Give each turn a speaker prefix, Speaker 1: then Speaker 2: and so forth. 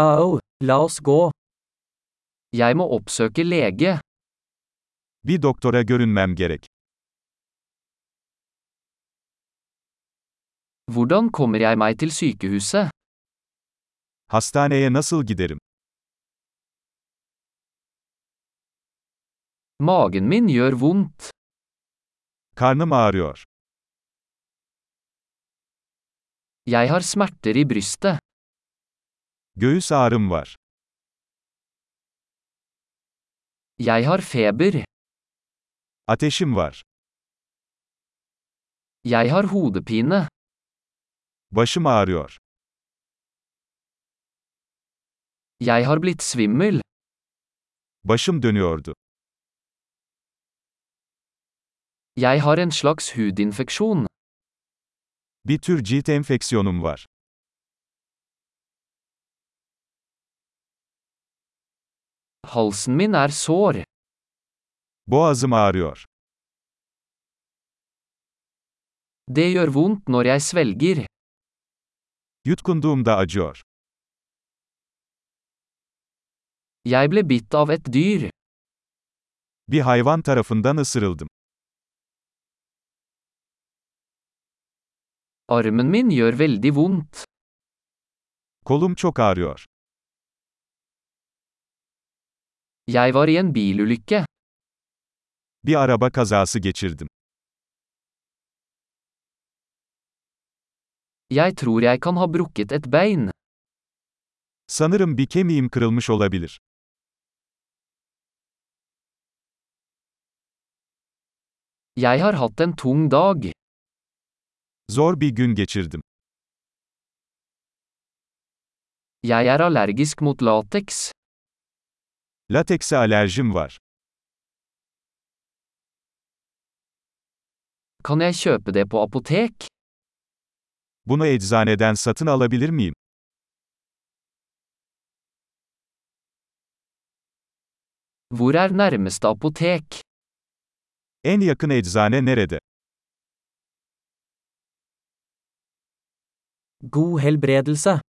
Speaker 1: Au, la oss gå. Jeg må oppsøke lege.
Speaker 2: Bir doktora görünmem gerek.
Speaker 1: Hvordan kommer jeg meg til sykehuset?
Speaker 2: Hastaneye nasıl giderim?
Speaker 1: Magen min gjør vondt.
Speaker 2: Karnım ağrıyor.
Speaker 1: Jeg har smerter i brystet.
Speaker 2: Göğüs ağrım var.
Speaker 1: Jeg har feber.
Speaker 2: Ateşim var.
Speaker 1: Jeg har hodepine.
Speaker 2: Başım ağrıyor.
Speaker 1: Jeg har blitt svimmel.
Speaker 2: Başım dönüyordu.
Speaker 1: Jeg har en slags hudinfeksjon.
Speaker 2: Bir tür cilt enfeksiyonum var.
Speaker 1: Halsen min er sår.
Speaker 2: Boğazım ağrıyor.
Speaker 1: Det gjør vondt når jeg svelger.
Speaker 2: Yutkunduğumda acıyor.
Speaker 1: Jeg ble bitt av et dyr.
Speaker 2: Bir hayvan tarafından ısırıldım.
Speaker 1: Armen min gjør veldig vondt.
Speaker 2: Kolum çok ağrıyor.
Speaker 1: Jeg var i en bilulykke.
Speaker 2: Bir araba kazası geçirdim.
Speaker 1: Jeg tror jeg kan ha brukket et bein.
Speaker 2: Sanırım bir kemiğim kırılmış olabilir.
Speaker 1: Jeg har hatt en tung dag.
Speaker 2: Zor bir gün geçirdim.
Speaker 1: Jeg er allergisk mot lateks.
Speaker 2: Latekse alerjim var.
Speaker 1: Kan jeg kjøpe det på apotek?
Speaker 2: Bunu eczaneden satın alabilir miyim?
Speaker 1: Hvor er nærmeste apotek?
Speaker 2: En yakın eczane nerede?
Speaker 1: God helbredelse.